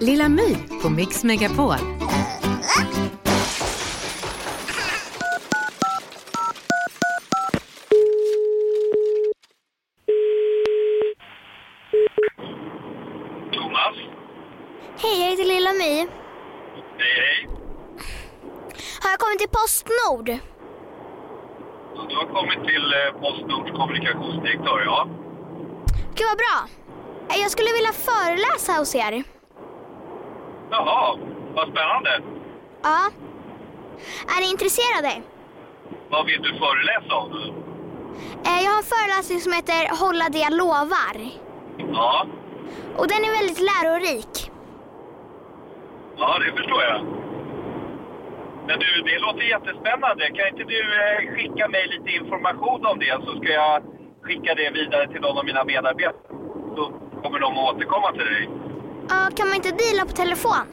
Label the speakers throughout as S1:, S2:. S1: Lilla My på Mix Megapol.
S2: Thomas.
S3: Hej, jag heter Lilla My.
S2: Hej, hej.
S3: Har jag kommit till Postnord?
S2: Du har kommit till eh, Postnords kommunikationsdirektör, ja.
S3: Gud vad bra. Eh, Jag skulle vilja föreläsa hos er.
S2: Jaha, vad spännande.
S3: Ja. Är ni intresserade?
S2: Vad vill du föreläsa om?
S3: Eh, Jag har en föreläsning som heter Hålla det jag lovar.
S2: Ja,
S3: Och den är väldigt lärorik.
S2: ja det förstår jag. Men du, det låter jättespännande. Kan inte du eh, skicka mig lite information om det så ska jag skicka det vidare till någon av mina medarbetare. Så kommer de att återkomma till dig.
S3: Ja, Kan man inte deala på telefon?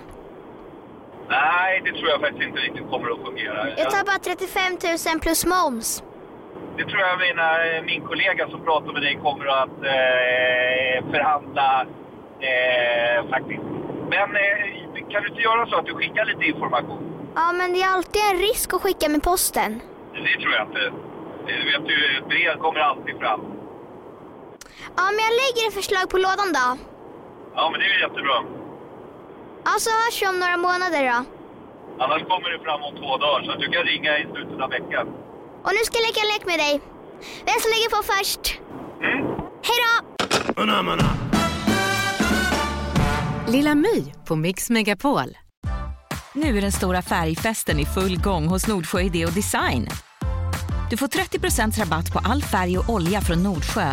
S2: Nej, det tror jag faktiskt inte riktigt kommer att fungera.
S3: Jag tar bara 35 000 plus moms.
S2: Det tror jag mina, eh, min kollega som pratar med dig kommer att eh, förhandla eh, faktiskt. Men eh, kan du inte göra så att du skickar lite information?
S3: Ja, men det är alltid en risk att skicka med posten.
S2: Det tror jag inte. Du vet, du, ett brev kommer alltid fram.
S3: Ja, men jag lägger ett förslag på lådan då.
S2: Ja, men det är ju jättebra.
S3: Ja, så hörs vi om några månader då.
S2: Annars kommer det fram om två dagar, så att du kan ringa i slutet av veckan.
S3: Och nu ska jag leka en lek med dig. Vem som lägger på först?
S2: Mm.
S3: Hej då!
S1: Lilla My på Mix Megapol.
S4: Nu är den stora färgfesten i full gång hos Nordsjö Idé och Design. Du får 30 rabatt på all färg och olja från Nordsjö.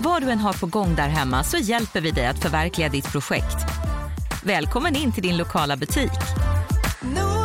S4: Vad du än har på gång där hemma så hjälper vi dig att förverkliga ditt projekt. Välkommen in till din lokala butik.
S5: Nordsjö